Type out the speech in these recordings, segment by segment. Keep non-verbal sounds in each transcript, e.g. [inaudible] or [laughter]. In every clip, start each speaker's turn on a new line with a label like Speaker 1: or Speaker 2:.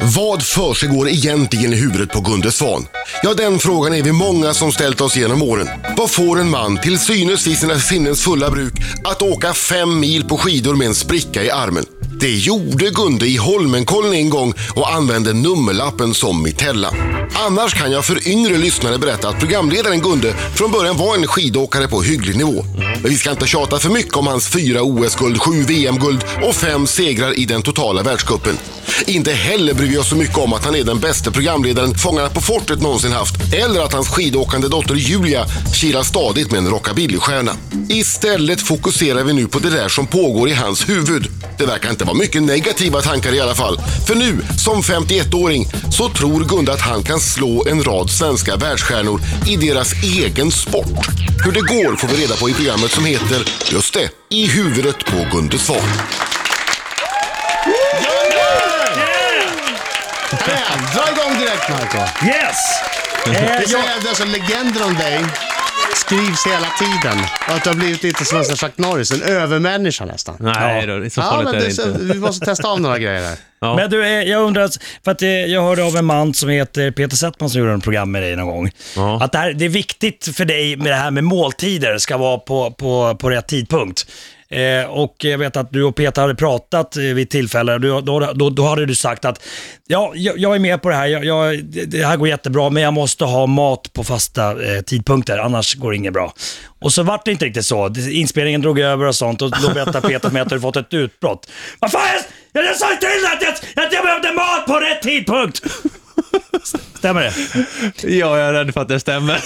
Speaker 1: Vad försiggår egentligen i huvudet på Gunde Svan? Ja, den frågan är vi många som ställt oss genom åren. Vad får en man till synes vid sina sinnens fulla bruk att åka fem mil på skidor med en spricka i armen? Det gjorde Gunde i Holmenkollen en gång och använde nummerlappen som mitella. Annars kan jag för yngre lyssnare berätta att programledaren Gunde från början var en skidåkare på hygglig nivå. Men vi ska inte tjata för mycket om hans fyra OS-guld, sju VM-guld och fem segrar i den totala världscupen. Inte heller bryr vi oss så mycket om att han är den bästa programledaren Fångarna på fortet någonsin haft eller att hans skidåkande dotter Julia kilar stadigt med en rockabillystjärna. Istället fokuserar vi nu på det där som pågår i hans huvud. Det verkar inte vara mycket negativa tankar i alla fall. För nu, som 51-åring, så tror Gunde att han kan slå en rad svenska världsstjärnor i deras egen sport. Hur det går får vi reda på i programmet som heter, just det, I huvudet på Gunde Svan.
Speaker 2: Bam! Dra igång direkt Marco.
Speaker 3: Yes! Eh,
Speaker 2: Det
Speaker 3: jag,
Speaker 2: säger jag, alltså, legender om dig skrivs hela tiden. Och att du har blivit lite som en sån Chuck Norris, en övermänniska nästan.
Speaker 4: Nej då, det är så
Speaker 2: ja,
Speaker 4: farligt
Speaker 2: men
Speaker 4: är det
Speaker 2: det, så,
Speaker 4: inte.
Speaker 2: vi måste testa av några grejer här.
Speaker 4: Ja.
Speaker 3: Men du, eh, jag undrar, alltså, för att eh, jag hörde av en man som heter Peter Settman som gjorde en program med dig någon gång.
Speaker 4: Ja.
Speaker 3: Att det, här, det är viktigt för dig med det här med måltider ska vara på, på, på rätt tidpunkt. Eh, och jag vet att du och Peter hade pratat eh, vid tillfällen. Du, då, då, då hade du sagt att ja, jag, jag är med på det här, jag, jag, det- det här går jättebra, men jag måste ha mat på fasta eh, tidpunkter, annars går det inget bra. Och så vart det inte riktigt så. Det- Inspelningen drog över och sånt och då berättade Peter för mig att du fått ett utbrott. Vad fan, jag, jag sa ju till dig att jag, att jag behövde mat på rätt tidpunkt! Stämmer det?
Speaker 4: Ja, jag är rädd för att det stämmer.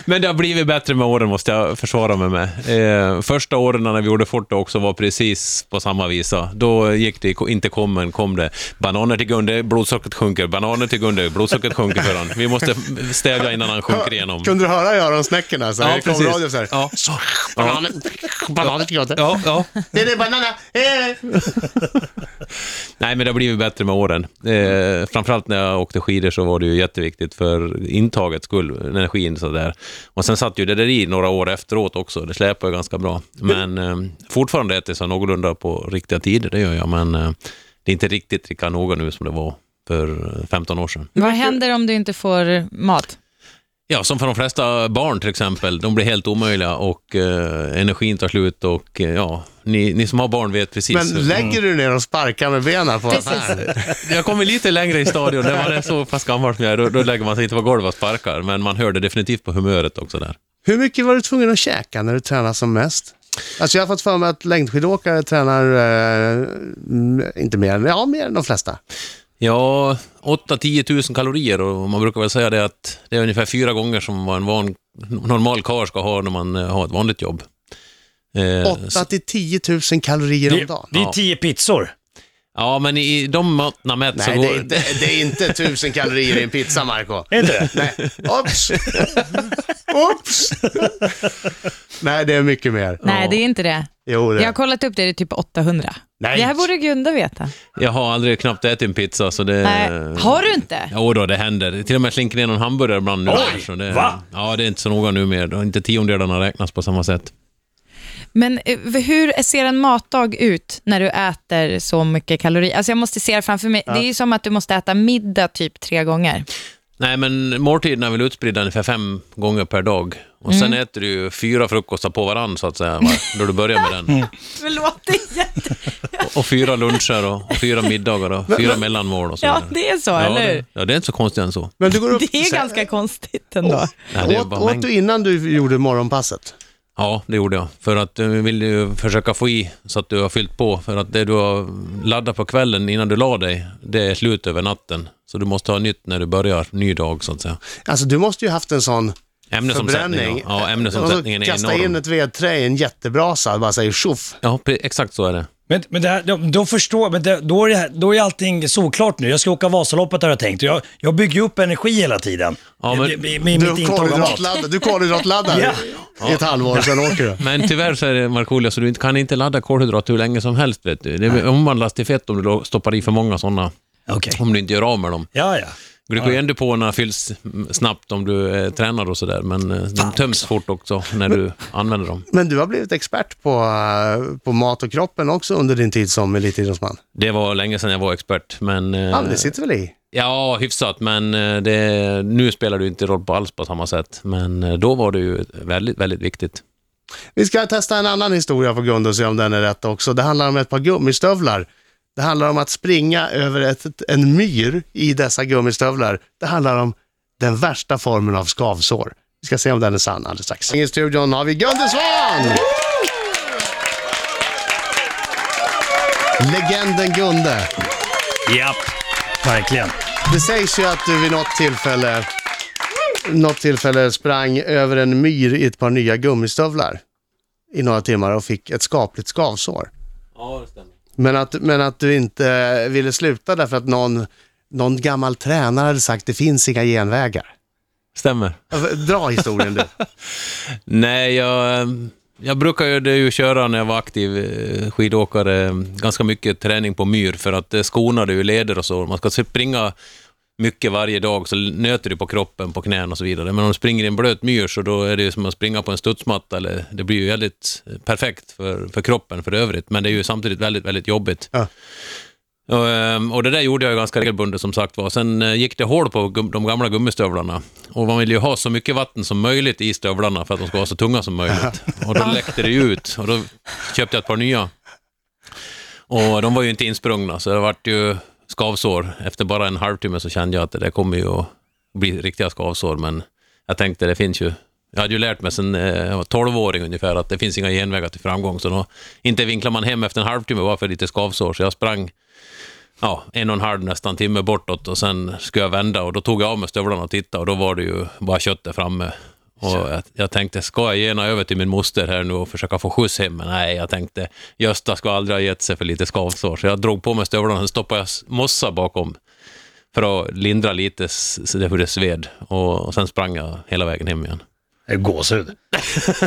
Speaker 4: [laughs] Men det har blivit bättre med åren, måste jag försvara mig med. Eh, första åren när vi gjorde Forte också var precis på samma vis. då. Då gick det i ko- inte kommen, kom det. Bananer till Gunde, blodsockret sjunker. Bananer till Gunde, blodsockret sjunker för honom. Vi måste stävja innan han [laughs] sjunker igenom.
Speaker 2: Kunde du höra i öronsnäckorna? Så här,
Speaker 4: Ja,
Speaker 2: det kom
Speaker 4: precis.
Speaker 2: radio så här.
Speaker 4: Ja.
Speaker 2: Så, bananer, bananer till gröten.
Speaker 4: Ja, ja.
Speaker 2: Det är det, bananer. Eh.
Speaker 4: Nej, men det har blivit bättre med åren. Eh, framförallt när jag åkte skidor så var det ju jätteviktigt för intagets skull, energin sådär. Och sen satt ju det där i några år efteråt också, det släpar ju ganska bra. Men eh, fortfarande äter jag så någorlunda på riktiga tider, det gör jag, men eh, det är inte riktigt lika noga nu som det var för 15 år sedan.
Speaker 5: Vad händer om du inte får mat?
Speaker 4: Ja, som för de flesta barn till exempel, de blir helt omöjliga och eh, energin tar slut och eh, ja, ni, ni som har barn vet precis.
Speaker 2: Men
Speaker 4: hur-
Speaker 2: lägger du ner och sparkar med benen på affären?
Speaker 4: [laughs] Jag kommer lite längre i stadion, när man är så pass gammal som jag är, då, då lägger man sig inte på golvet och sparkar, men man hör det definitivt på humöret också där.
Speaker 2: Hur mycket var du tvungen att käka när du tränade som mest? Alltså jag har fått för mig att längdskidåkare tränar, eh, m- inte mer, än- ja mer än de flesta.
Speaker 4: Ja, 8-10 tusen kalorier och man brukar väl säga det att det är ungefär fyra gånger som vad en van, normal karl ska ha när man eh, har ett vanligt jobb. Eh,
Speaker 2: 8 till 10 000 kalorier om
Speaker 3: Det,
Speaker 2: dagen.
Speaker 3: det är tio pizzor.
Speaker 4: ja, men i de måtten mätt så
Speaker 2: Nej, det är,
Speaker 4: går...
Speaker 2: inte, det är inte tusen kalorier i en pizza, Marco.
Speaker 3: Är inte det?
Speaker 2: Nej, Oops! Oops! Nej, det är mycket mer.
Speaker 5: Nej, det är inte det.
Speaker 2: Jo, det
Speaker 5: Jag har kollat upp det, det är typ 800.
Speaker 2: Nej.
Speaker 5: Det här borde Gunda veta.
Speaker 4: [laughs] Jag har aldrig knappt ätit en pizza, så det...
Speaker 5: Nej. Har du inte?
Speaker 4: Jo då, det händer. Till och med slinker ner någon hamburgare ibland nu.
Speaker 3: Oj,
Speaker 4: så det,
Speaker 3: va?
Speaker 4: Ja, det är inte så noga nu mer. Det är Inte tiondelarna räknas på samma sätt.
Speaker 5: Men eh, hur ser en matdag ut när du äter så mycket kalorier? Alltså jag måste se det framför mig. Det är ju som att du måste äta middag typ tre gånger.
Speaker 4: Nej, men måltiderna är väl utspridda ungefär fem gånger per dag. Och sen äter du ju fyra frukostar på varann så att säga, va? då du börjar med den.
Speaker 5: Förlåt, det är jätte...
Speaker 4: Och, och fyra luncher och, och fyra middagar och fyra mellanmål och så
Speaker 5: Ja,
Speaker 4: vidare.
Speaker 5: det är så,
Speaker 4: ja,
Speaker 5: eller
Speaker 4: det,
Speaker 5: hur?
Speaker 4: ja, det är inte så konstigt än så.
Speaker 2: Men du går upp...
Speaker 5: [laughs] Det är ganska konstigt ändå.
Speaker 4: Nej, det är
Speaker 2: åt,
Speaker 4: bara
Speaker 2: åt
Speaker 4: mängd.
Speaker 2: du innan du gjorde morgonpasset?
Speaker 4: Ja, det gjorde jag. För att du vill ju försöka få i så att du har fyllt på. För att det du har laddat på kvällen innan du la dig, det är slut över natten. Så du måste ha nytt när du börjar, ny dag så att säga.
Speaker 2: Alltså, du måste ju haft en sån
Speaker 4: Ämnesomsättningen,
Speaker 2: förbränning.
Speaker 4: ja. ja ämnesomsättningen är
Speaker 2: Och så Kasta
Speaker 4: enorm.
Speaker 2: in ett vedträ i en jättebrasa och bara säger tjoff.
Speaker 4: Ja, pre- exakt så är det.
Speaker 3: [laughs] Men, men det här, då, då förstår men det, då, är det, här- då är allting solklart nu. Jag ska åka Vasaloppet har jag tänkt. Jag, jag bygger ju upp energi hela tiden.
Speaker 4: Ja, men-
Speaker 3: Det- det- med
Speaker 2: Du
Speaker 3: mitt intag av mat.
Speaker 2: kolhydratladdar, du kolhydratladdar
Speaker 3: Ja.
Speaker 2: i ett halvår, sen åker du.
Speaker 4: Men tyvärr så är det, Markoolio, så du kan inte ladda kolhydrater hur länge som helst. Vet du. Det omvandlas till fett om du lo- stoppar i för många sådana.
Speaker 3: Okej.
Speaker 4: Om du inte gör av med dem.
Speaker 3: Ja, ja.
Speaker 4: Glykogendepåerna fylls mm, snabbt om du eh, tränar och sådär, men eh, de töms fort också när du använder dem.
Speaker 2: Men du har blivit expert på, eh, på mat och kroppen också under din tid som elitidrottsman.
Speaker 4: Det var länge sedan jag var expert, men... eh,
Speaker 2: Ja, men det sitter väl i?
Speaker 4: Ja, hyfsat, men eh, det, nu spelar det ju inte roll på alls på samma sätt. Men eh, då var det ju väldigt, väldigt viktigt.
Speaker 2: Vi ska testa en annan historia på Gunde och se om den är rätt också. Det handlar om ett par gummistövlar. Det handlar om att springa över ett, ett- en myr i dessa gummistövlar. Det handlar om den värsta formen av skavsår. Vi ska se om den är sann alldeles strax. I studion har vi Gunde Svan! Legenden Gunde.
Speaker 3: Japp, verkligen.
Speaker 2: Det sägs ju att du vid något tillfälle, något tillfälle sprang över en myr i ett par nya gummistövlar i några timmar och fick ett skapligt skavsår.
Speaker 4: Ja, det stämmer.
Speaker 2: Men att, men att du inte ville sluta därför att någon, någon gammal tränare hade sagt det finns inga genvägar.
Speaker 4: Stämmer.
Speaker 2: Dra historien du.
Speaker 4: Nej, jag, jag brukar ju, det ju köra när jag var aktiv eh, skidåkare, eh, ganska mycket träning på myr för att det skonade ju leder och så. Man ska springa mycket varje dag så nöter du på kroppen, på knän och så vidare. Men om du springer i en blöt myr så då är det ju som att springa på en studsmatta. Eller, det blir ju väldigt eh, perfekt för, för kroppen för övrigt, men det är ju samtidigt väldigt, väldigt jobbigt.
Speaker 2: Ja.
Speaker 4: Och, ehm, och det där gjorde jag ganska regelbundet som sagt var. Sen eh, gick det hål på gum- de gamla gummistövlarna. Och man ville ju ha så mycket vatten som möjligt i stövlarna för att de ska vara så tunga som möjligt. Och då läckte det ju ut och då köpte jag ett par nya. Och de var ju inte insprungna så det vart ju skavsår. Efter bara en halvtimme så kände jag att det där kommer ju att bli riktiga skavsår men jag tänkte det finns ju jag hade ju lärt mig sen eh, jag var 12-åring ungefär att det finns inga genvägar till framgång, så då inte vinklar man hem efter en halvtimme bara för lite skavsår, så jag sprang ja, en och en halv nästan timme bortåt och sen skulle jag vända och då tog jag av mig stövlarna och tittade och då var det ju bara kött där framme. Och jag, jag tänkte, ska jag gena över till min moster här nu och försöka få skjuts hem? Men nej, jag tänkte, Gösta skulle aldrig ha gett sig för lite skavsår. Så jag drog på mig stövlarna och sen stoppade jag s- mossa bakom för att lindra lite s- så det hur det sved. Och, och sen sprang jag hela vägen hem igen.
Speaker 3: Det är Gåshud.
Speaker 2: [laughs]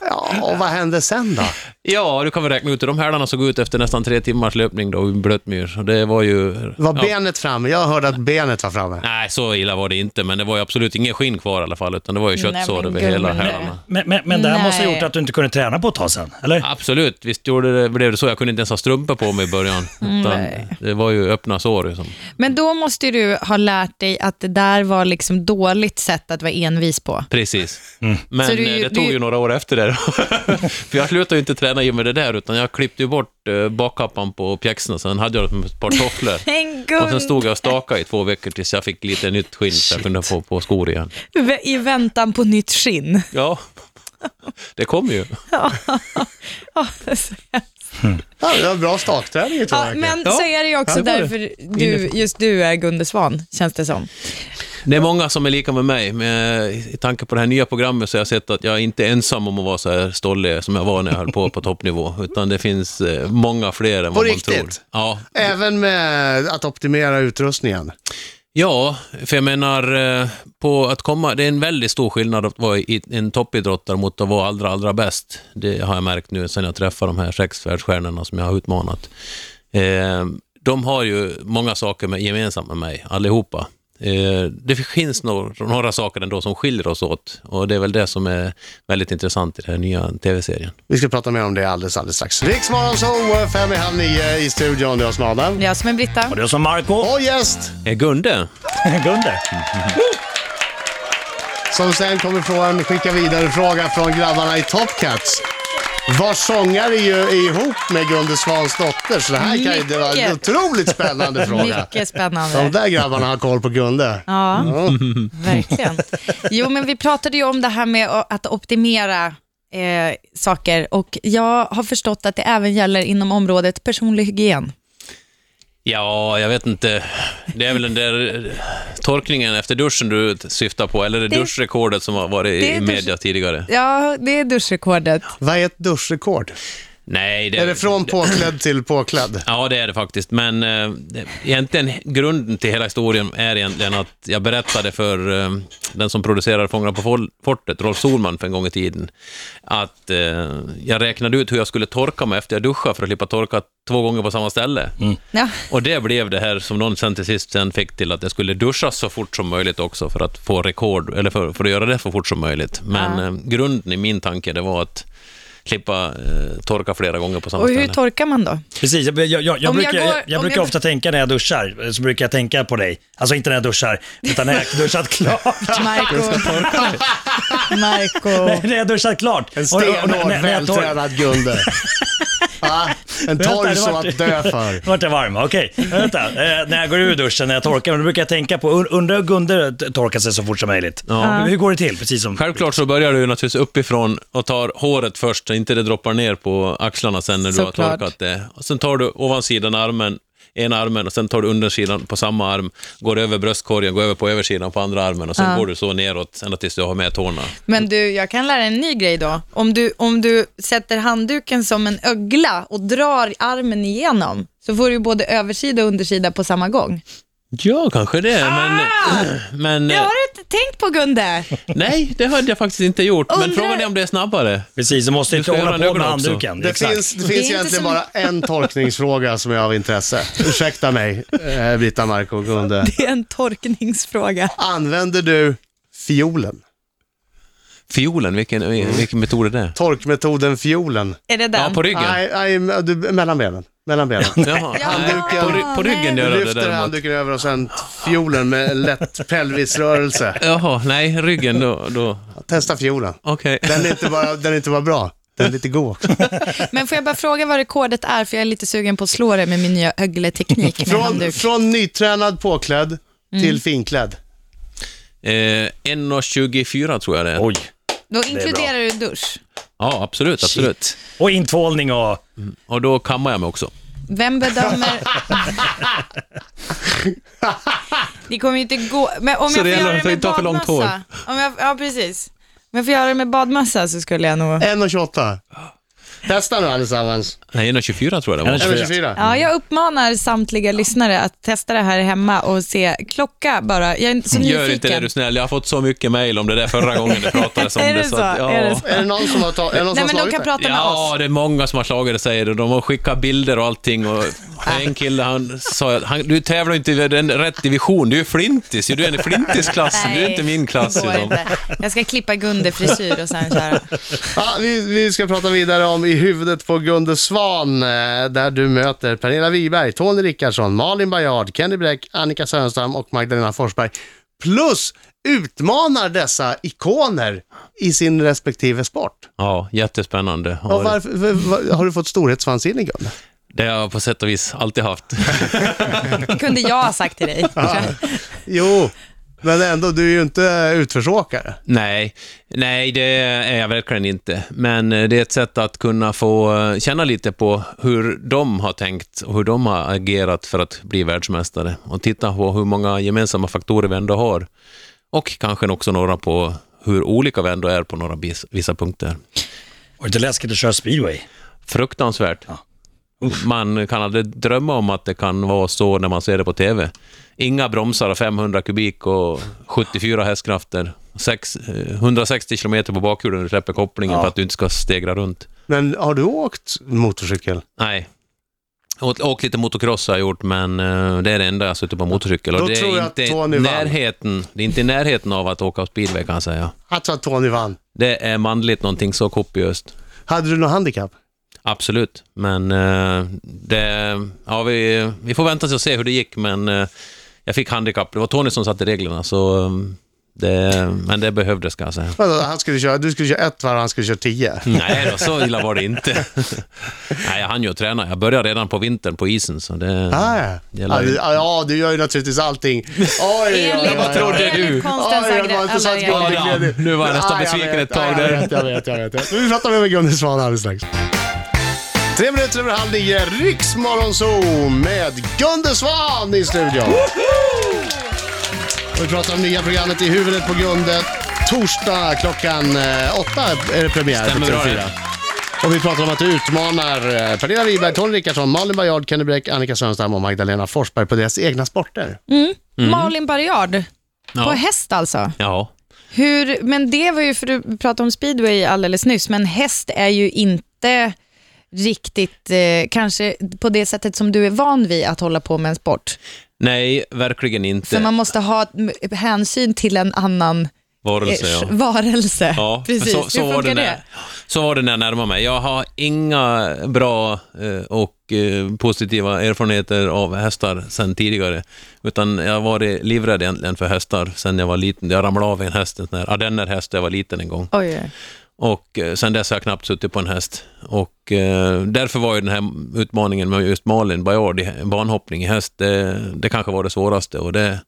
Speaker 2: Ja, och vad hände sen då?
Speaker 4: Ja, du kan väl räkna ut hur de hälarna såg ut efter nästan tre timmars löpning då i blötmyr. Så det var ju...
Speaker 2: Var
Speaker 4: ja.
Speaker 2: benet framme? Jag hörde att benet var framme.
Speaker 4: Nej, så illa var det inte, men det var ju absolut ingen skinn kvar i alla fall, utan det var ju
Speaker 5: Nej,
Speaker 4: köttsår
Speaker 5: men
Speaker 4: över
Speaker 5: gud,
Speaker 4: hela
Speaker 5: men-
Speaker 4: hälarna.
Speaker 3: Men, men, men det här måste ha
Speaker 5: Nej.
Speaker 3: gjort att du inte kunde träna på ett tag sen, eller?
Speaker 4: Absolut, visst gjorde det, blev det så. Jag kunde inte ens ha strumpor på mig i början.
Speaker 5: [laughs]
Speaker 4: Utan det var ju öppna sår. Liksom.
Speaker 5: Men då måste ju du ha lärt dig att det där var liksom dåligt sätt att vara envis på.
Speaker 4: Precis. Men
Speaker 5: Så du-
Speaker 4: eh, det
Speaker 5: du-
Speaker 4: tog ju några år efter det. [laughs] För jag slutade ju inte träna i och med det där, utan jag klippte ju bort eh, bakkappan på pjäxorna, sen hade jag ett par
Speaker 5: [laughs]
Speaker 4: tofflor.
Speaker 5: Men
Speaker 4: Och sen
Speaker 5: Gun,
Speaker 4: stod jag och stakade i två veckor tills jag fick lite nytt skinn så jag kunde få på skor igen.
Speaker 5: vä- i väntan på nytt skinn. [laughs]
Speaker 4: Ja, [laughs] det kom ju.
Speaker 5: Ja, alltså.
Speaker 2: Ja, det var bra stakträning i två
Speaker 5: ja,
Speaker 2: veckor.
Speaker 5: men så är det ju också
Speaker 4: Ja, det var det.
Speaker 5: därför du, just du är Gunde Svan, känns det som.
Speaker 4: Det är många som är lika med mig, men eh, i tanke på det här nya programmet så har jag sett att jag är inte ensam om att vara så här stollig som jag var när jag höll på på toppnivå, utan det finns eh, många fler än
Speaker 2: På
Speaker 4: vad man
Speaker 2: riktigt?
Speaker 4: tror. Ja,
Speaker 2: Även med att optimera utrustningen.
Speaker 4: Ja, för jag menar, eh, på att komma, det är en väldigt stor skillnad att vara i- en toppidrottare mot att vara allra, allra bäst. Det har jag märkt nu sen jag träffade de här sex världsstjärnorna som jag har utmanat. Eh, De har ju många saker med, gemensamt med mig, allihopa. Eh, Det finns några, några saker ändå som skiljer oss åt och det är väl det som är väldigt intressant i den här nya tv-serien.
Speaker 2: Vi ska prata mer om det alldeles, alldeles strax. Riksmorgon så fem i halv nio i studion. Det är jag som är Adam.
Speaker 5: Jag som är Britta.
Speaker 3: Och det är som Marco
Speaker 2: Och gäst!
Speaker 4: Eh, Gunde,
Speaker 3: [laughs] Gunde.
Speaker 2: som sen kommer få en skicka vidare fråga från grabbarna i Top Cats. Vars sångare är ju ihop med Gunde Svans dotter, så det här kan ju det vara en
Speaker 5: Mycket.
Speaker 2: otroligt spännande
Speaker 5: [laughs]
Speaker 2: fråga.
Speaker 5: Mycket
Speaker 2: De
Speaker 5: spännande.
Speaker 2: där grabbarna har koll på Gunde.
Speaker 5: Ja, verkligen. Jo, men vi pratade ju om det här med o- att optimera eh, saker och jag har förstått att det även gäller inom området personlig hygien.
Speaker 4: Ja, jag vet inte. Det är väl den där torkningen efter duschen du syftar på, eller det,
Speaker 5: Det-
Speaker 4: duschrekordet som har varit
Speaker 5: det
Speaker 4: i
Speaker 5: är dusch-
Speaker 4: media tidigare.
Speaker 5: Ja, det är duschrekordet.
Speaker 2: Vad är ett duschrekord?
Speaker 4: Nej, det...
Speaker 2: Är det från påklädd till påklädd?
Speaker 4: Ja, det är det faktiskt. Men eh, det- egentligen grunden till hela historien är egentligen att jag berättade för eh, den som producerade Fångarna på fol- fortet, Rolf Solman, för en gång i tiden, att eh, jag räknade ut hur jag skulle torka mig efter jag duschade för att slippa torka två gånger på samma ställe.
Speaker 5: Ja.
Speaker 4: Och det blev det här som någon sen till sist sen fick till att jag skulle duscha så fort som möjligt också för att få rekord, eller för, för att göra det så fort som möjligt. Men eh, grunden i min tanke, det var att slippa eh, torka flera gånger på samma
Speaker 5: Och
Speaker 4: ställe.
Speaker 5: hur torkar man då?
Speaker 3: Precis, jag, jag, jag, jag
Speaker 5: Om jag
Speaker 3: brukar, jag,
Speaker 5: går-
Speaker 3: jag,
Speaker 5: om
Speaker 3: brukar
Speaker 5: jag-
Speaker 3: ofta tänka när jag duschar, eh, så brukar jag tänka på dig. Alltså inte när jag duschar, utan när jag duschat klart.
Speaker 2: [laughs]
Speaker 5: Marco.
Speaker 3: [laughs]
Speaker 5: Marco.
Speaker 3: när jag duschat klart.
Speaker 2: En
Speaker 3: Och- och- och- när-
Speaker 2: stenhård,
Speaker 3: när jag tor-
Speaker 2: vältränad Gunde. Va? En
Speaker 3: Vänta,
Speaker 2: torr
Speaker 3: det
Speaker 2: som
Speaker 3: vart-
Speaker 2: att dö för.
Speaker 3: [laughs] Vart jag varm? Okej, vänta. Eh, när jag går ur duschen, när jag torkar mig, då brukar jag tänka på, und- undrar hur Gunde t- torkar sig så fort som möjligt. Hur- Hur går det till? Precis som...
Speaker 4: Självklart så börjar du ju naturligtvis uppifrån och tar håret först, så inte det droppar ner på axlarna sen när du har
Speaker 5: Såklart.
Speaker 4: torkat det. Och sen tar du ovansidan av armen, ena armen, och sen tar du undersidan på samma arm, går över bröstkorgen, går över på översidan på andra armen och sen går du så neråt ända tills du har med tårna.
Speaker 5: Men du, jag kan lära en ny grej då. Om du, om du sätter handduken som en ögla och drar armen igenom, så får du både översida och undersida på samma gång.
Speaker 4: Ja, kanske det, men... men
Speaker 5: Ah!
Speaker 4: [clears throat]
Speaker 5: Det har du inte tänkt på Gunde. [laughs]
Speaker 4: nej, det hade jag faktiskt inte gjort. Men
Speaker 5: Undrar-
Speaker 4: frågan är om det är snabbare.
Speaker 3: Precis, du måste
Speaker 4: Du
Speaker 3: inte
Speaker 4: ska göra
Speaker 3: hålla på med
Speaker 4: ögonen också.
Speaker 3: handduken.
Speaker 2: Det
Speaker 3: Exakt.
Speaker 2: finns, det
Speaker 5: Det är
Speaker 2: finns
Speaker 5: inte
Speaker 2: egentligen
Speaker 5: som-
Speaker 2: bara en tolkningsfråga som är av intresse. Ursäkta mig, eh, Brita, Marco och Gunde.
Speaker 5: Det är en torkningsfråga.
Speaker 2: Använder du fiolen?
Speaker 4: Fiolen, vilken, vilken metod är det?
Speaker 2: Torkmetoden fiolen?
Speaker 5: Är det den?
Speaker 4: Ja, på ryggen.
Speaker 2: Nej, nej du, mellan benen. Mellan
Speaker 4: [laughs]
Speaker 2: benen.
Speaker 4: Jaha,
Speaker 5: Ja,
Speaker 4: nej, på, ry- på
Speaker 5: nej.
Speaker 4: ryggen
Speaker 2: Du
Speaker 4: gör jag det
Speaker 2: lyfter
Speaker 4: däremot.
Speaker 2: handduken över och sen fiolen med en lätt pelvisrörelse.
Speaker 4: Jaha, nej, ryggen då... då.
Speaker 2: Testa fiolen.
Speaker 4: Okej.
Speaker 2: Den är inte bara, den är inte bara bra, den är lite god
Speaker 5: [laughs]
Speaker 2: också.
Speaker 5: Men får jag bara fråga vad rekordet är, för jag är lite sugen på att slå det med min nya
Speaker 4: [laughs]
Speaker 5: ögleteknik med
Speaker 2: Från,
Speaker 5: handduk.
Speaker 2: från nytränad påklädd
Speaker 5: Mm.
Speaker 2: till finklädd.
Speaker 4: Eh, 1.24 tror jag det är.
Speaker 3: Oj.
Speaker 5: Då inkluderar du dusch.
Speaker 4: Ja, absolut, absolut.
Speaker 3: Och intvålning och...
Speaker 4: Och då kammar jag mig också.
Speaker 5: Vem
Speaker 4: [laughs]
Speaker 5: bedömer... det kommer ju inte gå... Men om
Speaker 4: Så
Speaker 5: jag
Speaker 4: det
Speaker 5: får
Speaker 4: gäller
Speaker 5: göra
Speaker 4: att
Speaker 5: det med
Speaker 4: inte ha för långt hår.
Speaker 5: badmössa... Om jag, ja, precis. Men får jag göra det med badmössa så skulle jag nog...
Speaker 2: 1,28. Testa nu allesammans.
Speaker 4: Nej, 1.24 tror jag det var.
Speaker 2: 1,24.
Speaker 4: Mm.
Speaker 5: Ja, jag uppmanar samtliga lyssnare att testa det här hemma och se klocka bara. Jag är så
Speaker 4: Gör
Speaker 5: nyfiken.
Speaker 4: inte det är du snäll, jag har fått så mycket mejl om det där förra gången det pratades om
Speaker 5: [laughs] Är
Speaker 4: det.
Speaker 5: det
Speaker 4: att,
Speaker 5: så?
Speaker 4: ja.
Speaker 5: Är det så?
Speaker 2: Är det någon som har, ta- är det någon
Speaker 5: Nej,
Speaker 2: som
Speaker 5: men
Speaker 2: har
Speaker 5: de
Speaker 2: slagit
Speaker 5: kan
Speaker 2: det?
Speaker 5: prata med
Speaker 4: Ja,
Speaker 5: oss.
Speaker 4: det är många som har slagit säger det. De har skickat bilder och allting. Och en kille han sa att han, du tävlar inte i den rätt division, du är flintis. ju. Du är i flintisklassen, du är inte min klass.
Speaker 5: det går
Speaker 4: liksom.
Speaker 5: inte. Jag ska klippa Gunde-frisyr och sen köra.
Speaker 2: Ja, vi, vi ska prata vidare om I huvudet på Gunde Svan, eh, där du möter Pernilla Wiberg, Tony Rickardsson, Malin Bajard, Kenny Bräck, Annika Sörenstam och Magdalena Forsberg. Plus utmanar dessa ikoner i sin respektive sport.
Speaker 4: Ja, jättespännande.
Speaker 2: Och varför, v- v- har du fått storhetsvansinne Gunde?
Speaker 4: Det har jag på sätt och vis alltid haft.
Speaker 5: Det kunde jag ha sagt till dig.
Speaker 2: Jo, men ändå, du är ju inte utförsåkare.
Speaker 4: Nej, nej det är jag verkligen inte. Men eh, det är ett sätt att kunna få eh, känna lite på hur de har tänkt och hur de har agerat för att bli världsmästare och titta på hur många gemensamma faktorer vi ändå har och kanske också några på hur olika vi ändå är på några bis- vissa punkter.
Speaker 3: Var det inte läskigt att köra speedway?
Speaker 4: Fruktansvärt. Man kan aldrig drömma om att det kan vara så när man ser det på TV. Inga bromsar och 500 kubik och 74 hästkrafter. Sex- eh, 160 kilometer på bakhjulen när du släpper kopplingen för att du inte ska stegra runt.
Speaker 2: Men har du åkt motorcykel?
Speaker 4: Nej. Åkt, åkt lite motocross har jag gjort, men eh, det är det enda jag har suttit på motorcykel.
Speaker 2: Då
Speaker 4: Och det
Speaker 2: tror jag
Speaker 4: är
Speaker 2: att
Speaker 4: inte
Speaker 2: Tony
Speaker 4: i
Speaker 2: vann.
Speaker 4: närheten, det är inte i närheten av att åka speedway kan jag säga.
Speaker 2: Jag tror att Tony vann.
Speaker 4: Det är manligt någonting så kopiöst.
Speaker 2: Hade du något handikapp?
Speaker 4: Absolut, men eh, det, ja, vi, vi får vänta och se hur det gick, men eh, jag fick handikapp. Det var Tony som satte reglerna, så, eh, det, men det behövdes kan jag säga.
Speaker 2: Vadå, Han skulle köra, du skulle köra ett varv och han skulle köra tio.
Speaker 4: Nej då, så illa var det inte. [laughs] Nej, jag hann ju att träna. Jag började redan på vintern på isen, så det...
Speaker 2: Ah,
Speaker 4: Det
Speaker 2: ja,
Speaker 4: gäller
Speaker 2: du,
Speaker 4: ju.
Speaker 2: ja, du gör ju naturligtvis allting. Oj, [laughs] oj, oj,
Speaker 5: Enligt-
Speaker 4: vad trodde
Speaker 5: enligt
Speaker 4: du?
Speaker 5: konstens
Speaker 2: Oj, det var inte så att
Speaker 5: alla regler.
Speaker 2: Gunde gled in.
Speaker 4: Nu var jag nästan
Speaker 2: Ja,
Speaker 4: besviken
Speaker 2: vet,
Speaker 4: ett tag
Speaker 2: ja,
Speaker 4: där.
Speaker 2: Jag vet, jag vet, jag vet. jag vet. [laughs] Vi pratar med Gunde Svan alldeles strax. Tre minuter över halv nio, Riksmorgonzoo med Gunde Svan i studion. Och vi pratar om nya programmet I huvudet på Gunde. Torsdag klockan eh, åtta är det premiär.
Speaker 4: Stämmer
Speaker 2: på
Speaker 4: bra
Speaker 2: TV4.
Speaker 4: det.
Speaker 2: Och vi pratar om att du utmanar eh, Pernilla Wiberg, Tony Rickardsson, Malin Baryard, Kenny Bräck, Annika Sörenstam och Magdalena Forsberg på deras egna sporter.
Speaker 5: Malin Baryard, på
Speaker 4: Mm. Ja.
Speaker 5: häst alltså.
Speaker 4: ja.
Speaker 5: Hur, men det var ju, för du pratade om speedway alldeles nyss, men häst är ju inte riktigt, eh, kanske på det sättet som du är van vid att hålla på med en sport.
Speaker 4: Nej, verkligen inte.
Speaker 5: För man måste ha m- hänsyn till en annan
Speaker 4: Varelse,
Speaker 5: eh,
Speaker 4: ja.
Speaker 5: [laughs] varelse.
Speaker 4: Ja, men
Speaker 5: [laughs] Precis,
Speaker 4: så, så,
Speaker 5: hur
Speaker 4: var det
Speaker 5: funkar
Speaker 4: när,
Speaker 5: det?
Speaker 4: så var det när jag närmade mig. Jag har inga bra eh, och eh, positiva erfarenheter av hästar sedan tidigare. Utan jag har varit livrädd egentligen för hästar sedan jag var liten. Jag ramlade av en häst, en sån här ardennerhäst, när jag var liten en gång.
Speaker 5: Oj, oj.
Speaker 4: Och eh, sen dess har jag knappt suttit på en häst. Och eh, därför var ju den här utmaningen med just Malin Baryard, i- banhoppning i häst, det, det kanske var det svåraste. Och det,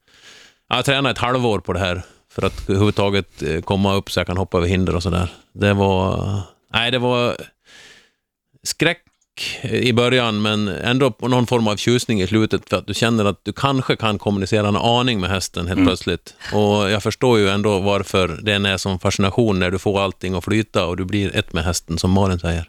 Speaker 4: jag tränade ett halvår på det här för att överhuvudtaget eh, komma upp så jag kan hoppa över hinder och sådär. Det var... Nej, det var skräck i början men ändå på någon form av tjusning i slutet för att du känner att du kanske kan kommunicera en aning med hästen
Speaker 5: Mm.
Speaker 4: helt plötsligt. Och jag förstår ju ändå varför den är som fascination när du får allting att flyta och du blir ett med hästen som Malin säger.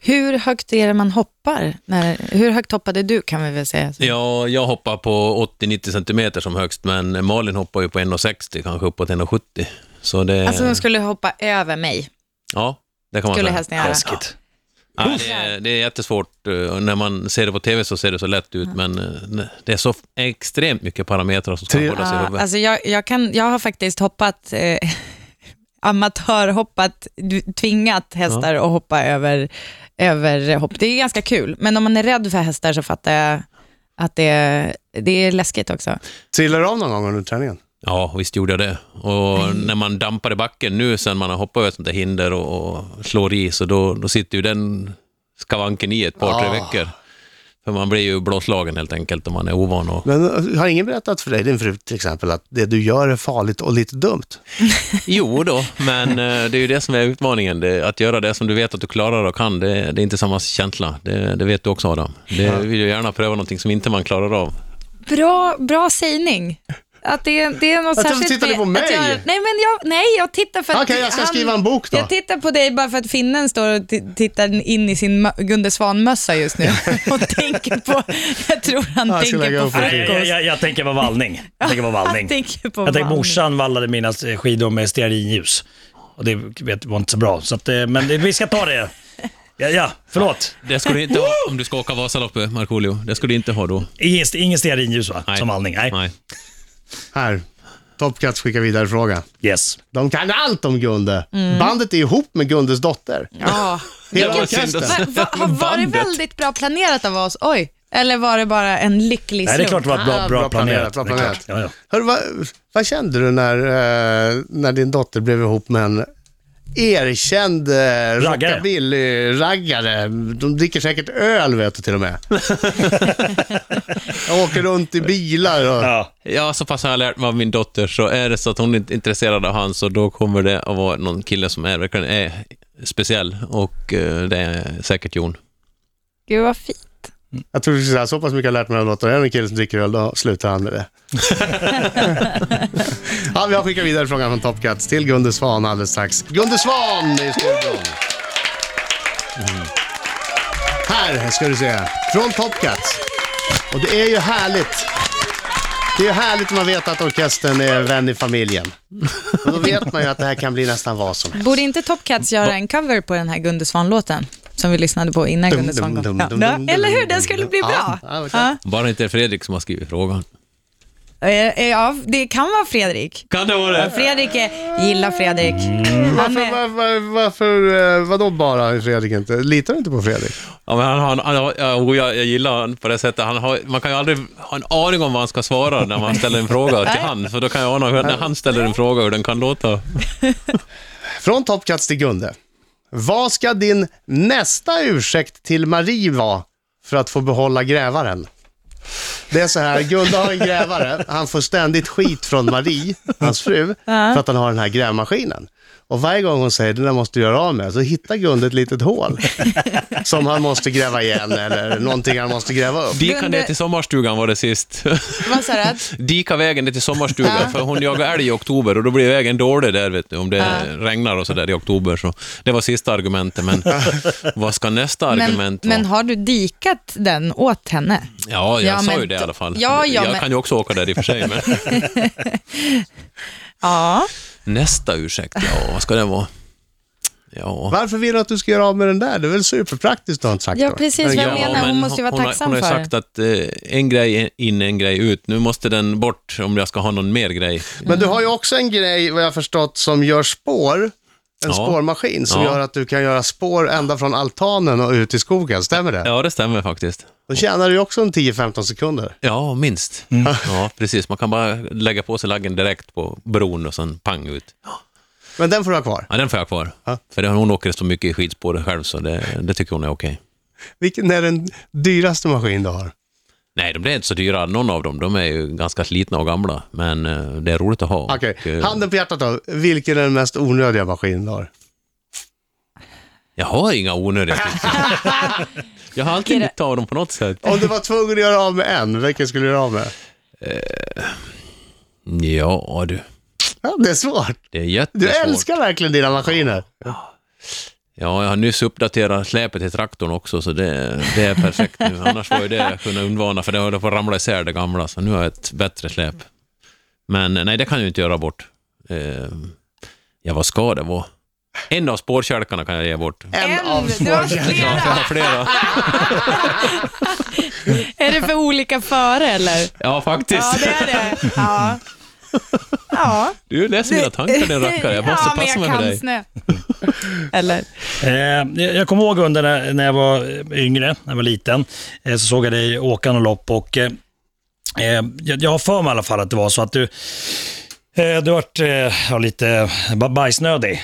Speaker 5: Hur högt är det man hoppar? När, hur högt hoppade du kan vi väl säga?
Speaker 4: Ja, jag hoppar på 80-90 centimeter som högst men Malin hoppar ju på 1,60 kanske uppåt 1,70. Så det...
Speaker 5: Alltså de skulle hoppa över mig,
Speaker 4: Ja, Alltså, det kan man
Speaker 5: skulle
Speaker 4: säga.
Speaker 5: hästen göra.
Speaker 3: Läskigt.
Speaker 4: Ja, det, är, det är jättesvårt. eh, och När man ser det på tv så ser det så lätt ut, men eh, ne- det är så f- extremt mycket parametrar som ska
Speaker 2: Tre-
Speaker 4: hållas i
Speaker 5: Ja,
Speaker 4: huvudet.
Speaker 5: alltså jag, jag, kan, jag har faktiskt hoppat, eh, [laughs] amatörhoppat, du- tvingat hästar att hoppa över, över hopp. Det är ganska kul, men om man är rädd för hästar så fattar jag att det, det är läskigt också.
Speaker 2: Trillar du av någon gång under träningen?
Speaker 4: Ja, visst gjorde jag det. Och när man dampar i backen nu sen man har hoppat över ett sånt där hinder och, och slår i, så då, då sitter ju den skavanken i ett par, tre veckor. För man blir ju blåslagen helt enkelt om man är ovan. Och...
Speaker 2: Men eh, har ingen berättat för dig, din fru till exempel, att det du gör är farligt och lite dumt?
Speaker 4: [laughs] Jo då, men eh, det är ju det som är utmaningen. Det, att göra det som du vet att du klarar och kan, det, det är inte samma känsla. Det, det vet du också Adam. Det vill ju gärna pröva någonting som inte man klarar av.
Speaker 5: Bra, bra sägning. Att det, det är något
Speaker 2: Att du
Speaker 5: särskilt
Speaker 2: tittar på mig?
Speaker 5: med Att jag, nej, men jag, nej, jag tittar för att...
Speaker 2: Okej, jag ska skriva en bok då.
Speaker 5: Jag tittar på dig bara för att finnen står och t- tittar in i sin mö- Gunde Svan-mössa
Speaker 2: [laughs]
Speaker 5: just nu och tänker på... Jag tror han
Speaker 2: Ja, jag ska lägga
Speaker 5: tänker på
Speaker 2: upp det.
Speaker 3: Nej, jag,
Speaker 5: frukost.
Speaker 3: jag, jag tänker på vallning. Jag tänker på
Speaker 5: [laughs]
Speaker 3: vallning.
Speaker 5: Han tänker på
Speaker 3: Jag tänker
Speaker 5: vallning.
Speaker 3: morsan vallade mina skidor med stearinljus. Och det vet, var inte så bra. Så att, eh, men det, vi ska ta det. Ja, ja förlåt.
Speaker 4: Det ska du inte ha om du ska åka Vasaloppet, Markoolio. Det ska du inte ha då.
Speaker 3: Ingen, ingen stearinljus va?
Speaker 4: Nej.
Speaker 3: Som vallning? Nej.
Speaker 4: Nej.
Speaker 2: Här, Topcats skickar vidare fråga.
Speaker 3: Yes.
Speaker 2: De kan allt om Gunde.
Speaker 3: Mm.
Speaker 2: Bandet är ihop med Gundes dotter.
Speaker 5: Ja.
Speaker 2: Hela
Speaker 4: var
Speaker 2: orkestern.
Speaker 4: synd att
Speaker 5: Va, va, har- var det väldigt bra planerat av oss? Oj. Eller var det bara en lycklig
Speaker 3: Nej, det är klart
Speaker 5: slump?
Speaker 3: det var bra,
Speaker 2: Ah,
Speaker 3: bra planerat.
Speaker 2: Bra
Speaker 3: Det är klart.
Speaker 2: planerat.
Speaker 3: Ja, ja.
Speaker 2: Hörru, vad, vad kände du när, eh, när din dotter blev ihop med en erkänd eh,
Speaker 3: Raggare.
Speaker 2: rockabilly-raggare? De dricker säkert öl vet du till och
Speaker 3: [laughs]
Speaker 2: med. Jag åker runt i bilar och...
Speaker 3: Ja.
Speaker 4: Ja, så pass har jag lärt mig av min dotter, så är det så att hon är inte intresserad av han, så då kommer det att vara någon kille som är, verkligen är speciell och eh, det är säkert Jon.
Speaker 5: Gud vad fint.
Speaker 2: Jag tror du skulle säga så pass mycket har jag lärt mig av dottern. Är det en kille som dricker öl, då slutar han med det. ja, vi har skickat vidare frågan från Top Cats till Gunde Svan alldeles strax. Gunde Svan i studion! Här ska du se, från Top Cats. Och det är ju härligt. Det är ju härligt när man vet att orkestern är vän i familjen. Och då vet man ju att det här kan bli nästan vad som helst.
Speaker 5: Borde inte Top Cats göra en cover på den här Gunde Svan-låten? Som vi lyssnade på innan
Speaker 2: Dum,
Speaker 5: Gunde Svan
Speaker 2: dum,
Speaker 5: kom.
Speaker 2: dum,
Speaker 5: Ja.
Speaker 2: dum, dum,
Speaker 5: Eller hur?
Speaker 2: dum,
Speaker 5: Den skulle bli
Speaker 2: dum.
Speaker 5: bra.
Speaker 2: Ja, ja, okej.
Speaker 5: Ja.
Speaker 4: Bara inte det är Fredrik som har skrivit frågan.
Speaker 5: Eh, eh, Ja, det kan vara Fredrik.
Speaker 4: Kan det vara det?
Speaker 5: Fredrik är, gillar Fredrik. Han
Speaker 2: Varför,
Speaker 5: är,
Speaker 2: var, var, varför, eh, vadå bara Fredrik inte? Litar du inte på Fredrik?
Speaker 4: Ja, men han, han, han, ja, jo, jag, jag gillar honom på det sättet. Han har, man kan ju aldrig ha en aning om vad han ska svara när man ställer en fråga till han, för då kan jag ana hur, när han ställer en fråga hur den kan låta.
Speaker 2: Från Top Cats till Gunde. Vad ska din nästa ursäkt till Marie vara för att få behålla grävaren? Det är så här, Gunde har en grävare, han får ständigt skit från Marie, hans fru, för att han har den här grävmaskinen. Och varje gång hon säger den där måste du göra av med, så hittar Gunde ett litet hål som han måste gräva igen eller någonting han måste gräva upp.
Speaker 4: Dika
Speaker 5: Gunde-
Speaker 4: ner till sommarstugan var det sist.
Speaker 5: Vad sa du? att-
Speaker 4: Dika vägen ner till sommarstugan, för hon jagar älg i oktober och då blir vägen dålig där vet du, om det regnar och sådär i oktober. Så det var sista argumentet,
Speaker 5: [laughs]
Speaker 4: men vad ska nästa
Speaker 5: Men,
Speaker 4: argument vara?
Speaker 5: men har du dikat den åt henne?
Speaker 4: Ja, jag sa
Speaker 5: Ja, men
Speaker 4: ju det i
Speaker 5: då-
Speaker 4: alla fall.
Speaker 5: Ja, ja,
Speaker 4: jag
Speaker 5: men-
Speaker 4: kan ju också åka där i och för sig, men
Speaker 5: [laughs] Ja.
Speaker 4: nästa ursäkt, ja, vad ska det vara? Ja.
Speaker 2: Varför vill hon att du ska göra av med den där? Det är väl superpraktiskt har hon sagt
Speaker 5: Ja,
Speaker 2: då.
Speaker 5: precis. Vad jag
Speaker 4: Ja,
Speaker 5: menar, hon
Speaker 4: men
Speaker 5: måste ju vara
Speaker 4: hon har-
Speaker 5: tacksam
Speaker 4: Hon har
Speaker 5: för.
Speaker 4: ju sagt att eh, en grej in, en grej ut. Nu måste den bort om jag ska ha någon mer grej.
Speaker 2: Men du har ju också en grej, vad jag har förstått, som gör spår. En
Speaker 4: Ja.
Speaker 2: spårmaskin som
Speaker 4: Ja.
Speaker 2: gör att du kan göra spår ända från altanen och ut i skogen, stämmer det?
Speaker 4: Ja, det stämmer faktiskt.
Speaker 2: Då tjänar du ju också en 10-15 sekunder.
Speaker 4: Ja, minst.
Speaker 2: Mm.
Speaker 4: Ja, precis. Man kan bara lägga på sig laggen direkt på bron och sen pang ut.
Speaker 2: Men den får du ha kvar.
Speaker 4: Ja, den får jag kvar.
Speaker 2: Ja.
Speaker 4: För det- hon åker så mycket i skidspåret själv så det, det tycker hon är okej.
Speaker 2: Vilken är den dyraste maskin du har?
Speaker 4: Nej, de blir inte så dyra, någon av dem. De är ju ganska slitna och gamla, men eh, det är roligt att ha.
Speaker 2: Okej,
Speaker 4: Och, eh,
Speaker 2: handen på hjärtat då. Vilken är den mest onödiga maskinen du har?
Speaker 4: Jag har
Speaker 2: [laughs]
Speaker 4: inga onödiga tips. Jag har alltid nytta av dem på något sätt.
Speaker 2: Om du var tvungen att göra av med en, vilken skulle du göra av med?
Speaker 4: Ja, du.
Speaker 2: Ja, det är svårt.
Speaker 4: Det är
Speaker 2: Du
Speaker 4: jättesvårt.
Speaker 2: älskar verkligen dina maskiner.
Speaker 4: Ja, jag har nyss uppdaterat släpet till traktorn också, så det, det är perfekt nu. Annars var ju det jag kunde undvana, för det höll på att ramla isär det gamla, så nu har jag ett bättre släp. Men nej, det kan jag ju inte göra bort. Eh, ja, vad ska det vara? En av spårkälkarna kan jag ge bort.
Speaker 2: En av
Speaker 5: du har
Speaker 4: Ja, jag
Speaker 5: flera.
Speaker 4: har flera.
Speaker 5: Är det för olika
Speaker 4: [laughs]
Speaker 5: före eller?
Speaker 4: Ja,
Speaker 5: Ja,
Speaker 4: faktiskt.
Speaker 5: det är det. Ja. Ja.
Speaker 4: Du läser mina tankar din rackare. Jag måste
Speaker 5: ja, men
Speaker 4: passa
Speaker 5: jag
Speaker 4: mig för
Speaker 5: kan
Speaker 4: dig.
Speaker 5: snö. Eller?
Speaker 3: Eh, jag- jag kommer ihåg under när, när jag var yngre, när jag var liten, eh, så såg jag dig åka något lopp och eh, eh, jag, jag har för mig i alla fall att det var så att du, eh, du vart eh, ja, lite ba- bajsnödig.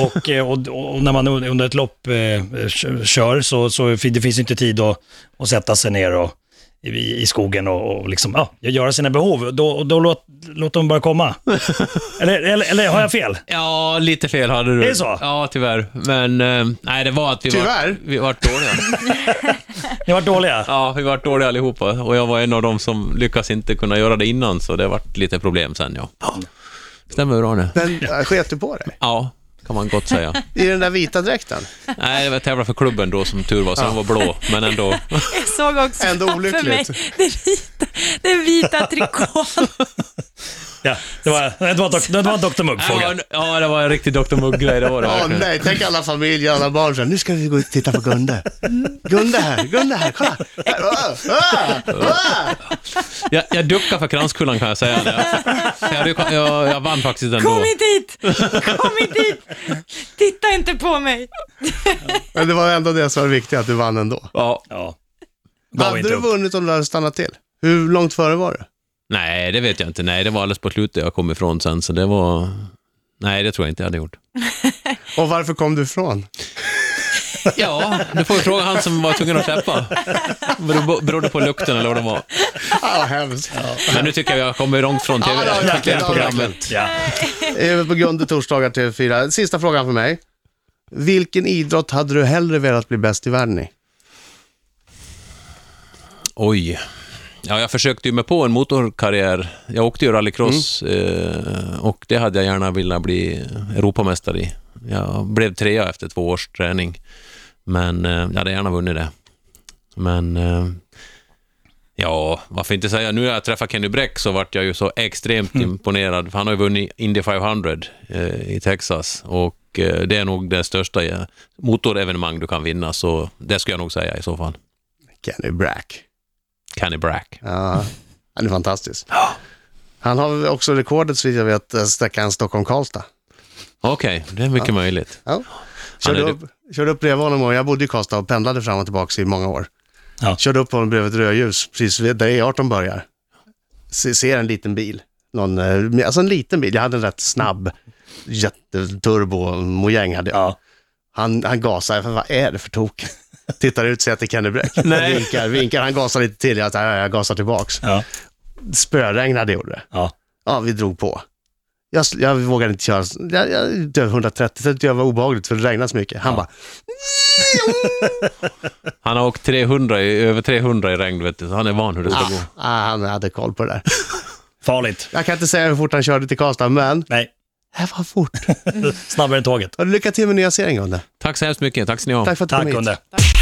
Speaker 3: och, eh, och, och när man under ett lopp eh, kö- kör så, så fin- det finns ju inte tid att, att sätta sig ner och, i, i skogen och, och liksom, ja, göra sina behov. Då, och då låt, låt dem bara komma. eller, eller, eller har jag fel?
Speaker 4: Ja, lite fel hade du.
Speaker 3: Är det så?
Speaker 4: Ja, tyvärr. Men eh, nej, det var att vi
Speaker 2: Tyvärr?
Speaker 4: var, vi var dåliga.
Speaker 3: Ni var dåliga?
Speaker 4: Ja, vi vart dåliga allihopa och jag var en av dem som lyckas inte kunna göra det innan, så det vart lite problem sen ja. Stämmer bra nu.
Speaker 2: Den äh, sket du på dig?
Speaker 4: Ja, kan man gott [laughs] säga.
Speaker 2: I den där vita dräkten?
Speaker 4: Nej, det var tävla för klubben då som tur var, så den var blå, men ändå.
Speaker 5: Jag såg också
Speaker 2: Ändå
Speaker 5: för mig
Speaker 2: olyckligt.
Speaker 5: den vita, den
Speaker 4: [laughs]
Speaker 5: vita trikån.
Speaker 3: Ja, det var, det var, dok, det var Dr. Mugg-fråga.
Speaker 4: [laughs] Ja, ja, det var en riktig Dr Mugg-grej, det var det
Speaker 2: Åh
Speaker 4: verkligen.
Speaker 2: nej, tänk alla familjer, alla barn så här, nu ska vi gå ut och titta på Gunde. Gunde här, Gunde här, kolla! Här, ah, ah, ah.
Speaker 4: Jag, jag duckade för kranskullan kan jag säga. [laughs] Jag, jag, ryck- jag, jag vann faktiskt ändå.
Speaker 5: Kom inte hit! Kom inte hit! Titta inte på mig!
Speaker 2: Men det var ändå det som var viktigt, att du vann ändå.
Speaker 4: Ja.
Speaker 3: Ja. Gav
Speaker 2: Hade
Speaker 3: inte
Speaker 2: du
Speaker 3: upp.
Speaker 2: vunnit om du hade stannat till? Hur långt före var du?
Speaker 4: Nej, det vet jag inte. Nej, det var alldeles på slutet jag kom ifrån sen, så det var... Nej, det tror jag inte jag hade gjort.
Speaker 2: Och varför kom du ifrån?
Speaker 4: Ja, du får ju fråga han som var tvungen att släppa. Bero- Berodde på lukten eller vad det var.
Speaker 2: Ah, vad hemskt.
Speaker 4: Men nu tycker jag vi har kommit långt från
Speaker 2: Ja, det har vi verkligen.
Speaker 4: tv-programmet.
Speaker 3: Ja.
Speaker 2: Eh, På Gunde torsdagar TV4. Sista frågan för mig. Vilken idrott hade du hellre velat bli bäst i världen i?
Speaker 4: Oj. Ja, jag försökte ju mig på en motorkarriär. Jag åkte ju rallycross eh, och det hade jag gärna velat bli Europamästare i. Jag blev trea efter två års träning, men eh, jag hade gärna vunnit det. Men eh, ja, varför inte säga, nu när jag träffade Kenny Bräck så vart jag ju så extremt imponerad, för han har ju vunnit Indy 500 eh, i Texas och eh, det är nog det största eh, motorevenemang du kan vinna, så det skulle jag nog säga i så fall.
Speaker 2: Kenny Brack.
Speaker 4: Kenny Brack.
Speaker 2: Ja, han är fantastisk. Han har också rekordet, så vitt jag vet, sträckan Stockholm-Karlstad.
Speaker 4: Okej, det är mycket möjligt.
Speaker 2: Ja. Körde,
Speaker 4: är
Speaker 2: upp, körde upp bredvid honom och jag bodde i Karlstad och pendlade fram och tillbaka i många år.
Speaker 3: Ja.
Speaker 2: Körde upp honom bredvid ett rödljus, precis vid- där E18 börjar. Se, ser en liten bil. Någon, eh, alltså en liten bil. Jag hade en rätt snabb jätteturbo-mojäng hade jag.
Speaker 3: Ja.
Speaker 2: Han, han gasar, för vad är det för tok? [laughs] Tittar ut, ser att det är Kenny Bräck.
Speaker 3: Nej.
Speaker 2: Vinkar, vinkar, han gasar lite till. Jag, jag, jag gasar tillbaks.
Speaker 3: Ja.
Speaker 2: Spöregnade gjorde det.
Speaker 3: Ja.
Speaker 2: Ja, vi drog på. jag, sl- jag vågade inte köra, jag, jag döv 130, så tyckte jag var obehagligt för det regnade så mycket. Han bara,
Speaker 4: Han har åkt 300, i- över 300 i regn, vet du, så han är van hur det ska gå.
Speaker 2: ah, han hade koll på det där.
Speaker 3: Farligt.
Speaker 2: Jag kan inte säga hur fort han körde till Karlstad, men
Speaker 3: Nej,
Speaker 2: det var fort.
Speaker 3: snabbare än tåget.
Speaker 2: Och lycka till med nya serien Gunde.
Speaker 4: Tack så hemskt mycket, tack ska ni ha.
Speaker 2: Tack för att du
Speaker 3: Tack
Speaker 2: kom hit.
Speaker 3: Gunde.